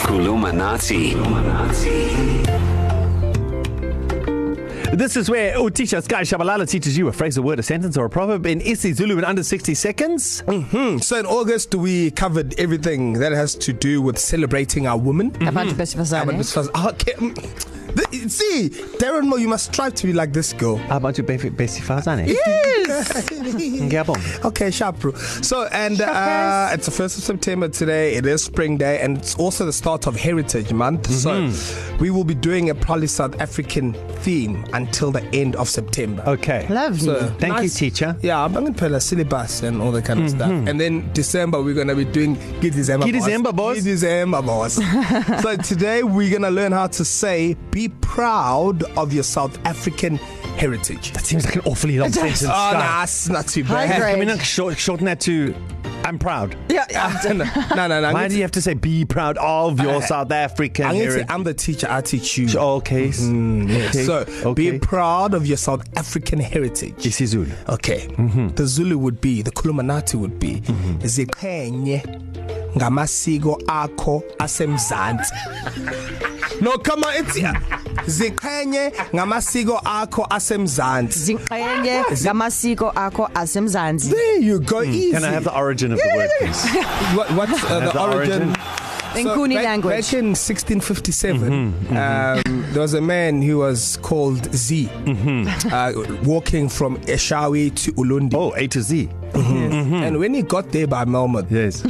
Kulumanati. This is where Utisha Sky Shabalala teaches you a phrase, a word, a sentence, or a proverb in Isi Zulu in under 60 seconds. So in August we covered everything that has to do with celebrating our women. Hmm. Abantu besifazane. But this was- oh, okay. mm. The- See, Darren Mo, you must strive to be like this girl. Abantu be- besifazane. Yes. Ngiyabonga. okay, sharp, bro. So, and uh, it's the first of September today. It is Spring Day, and it's also the start of Heritage Month. Mm-hmm. So, we will be doing a probably South African theme until the end of September. Okay. Lovely. So, So, Thank you, teacher. Yeah, I'm going to play a syllabus and all that kind of mm-hmm. stuff. And then December, we're going to be doing Get December Ke December, boss. Get December, boss. so today, we're going to learn how to say, be proud of your South African heritage. That seems like an awfully long sentence. Oh, nah, it's not too High bad. grade. Can we not short, shorten that to I'm proud? Yeah, yeah. no, no, no. no. Why I'm, do you have to say be proud of your Uh, South African I'm, gonna say, heritage? I'm the teacher, I teach you. Okay. Mm, okay. So, okay. be proud of your South African heritage. isiZulu. Okay. Mm-hmm. The Zulu would be, the Kulumanati would be mm-hmm. ziqhenye ngamasiko akho asemzansi. No, come on, it's yeah. Ziqhenye ngamasiko akho asemzansi. Zingqenge ngamasiko akho asemzansi. There you go, mm. easy. Can I have the origin of the word, please? what, what's uh, the, the the origin? origin? origin? Nkuni back, language. Back in 1657, mm-hmm, mm-hmm. Um, there was a man who was called Z, mm-hmm. uh, walking from Eshawe to Ulundi. Oh, A to Z. Mm-hmm. And when he got there by Melmoth, Yes.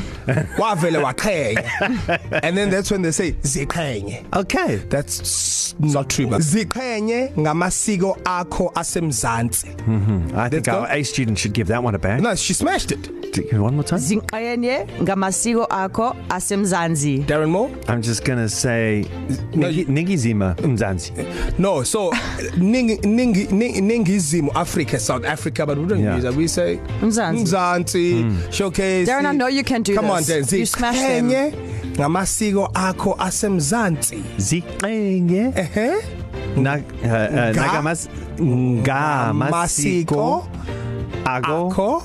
wavele waqhenya and then that's when they say ziqhenye okay. that's s- not true but ziqhenye ngamasiko akho asemzansi I think go. our A student should give that one a back. no she smashed it D- One more time. Zingqenge ngamasiko akho asemzansi. Darren Moore I'm just going to say No, Nigi- you- Nigizima Mzansi. no so ning- ning- ning- ningizimu Africa South Africa but we don't Yeah. yeah. use that we say Mzansi. mzansi showcase Darren, I know you can do come this. on Darren You smashed them. ziqhenye ngamasiko akho asemzansi Ziqenge ehe na uh, uh, Nga- nagamas ngamasiko masiko ago akho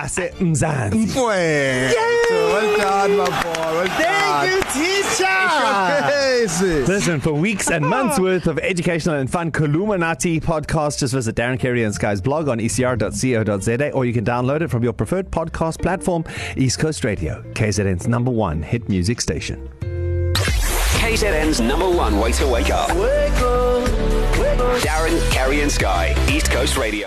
ase Mzansi. Mfwe. So well done, my boy. Well done. Showcase. Listen, for weeks and months worth of educational and fun Columinati podcast, just visit Darren Carey and Sky's blog on E ecr.co.za or you can download it from your preferred podcast platform, East Coast Radio, KZN's number one hit music station. KZN's number one way to wake up. Wake up. Wake up. Darren, Carrie, and Sky. East Coast Radio.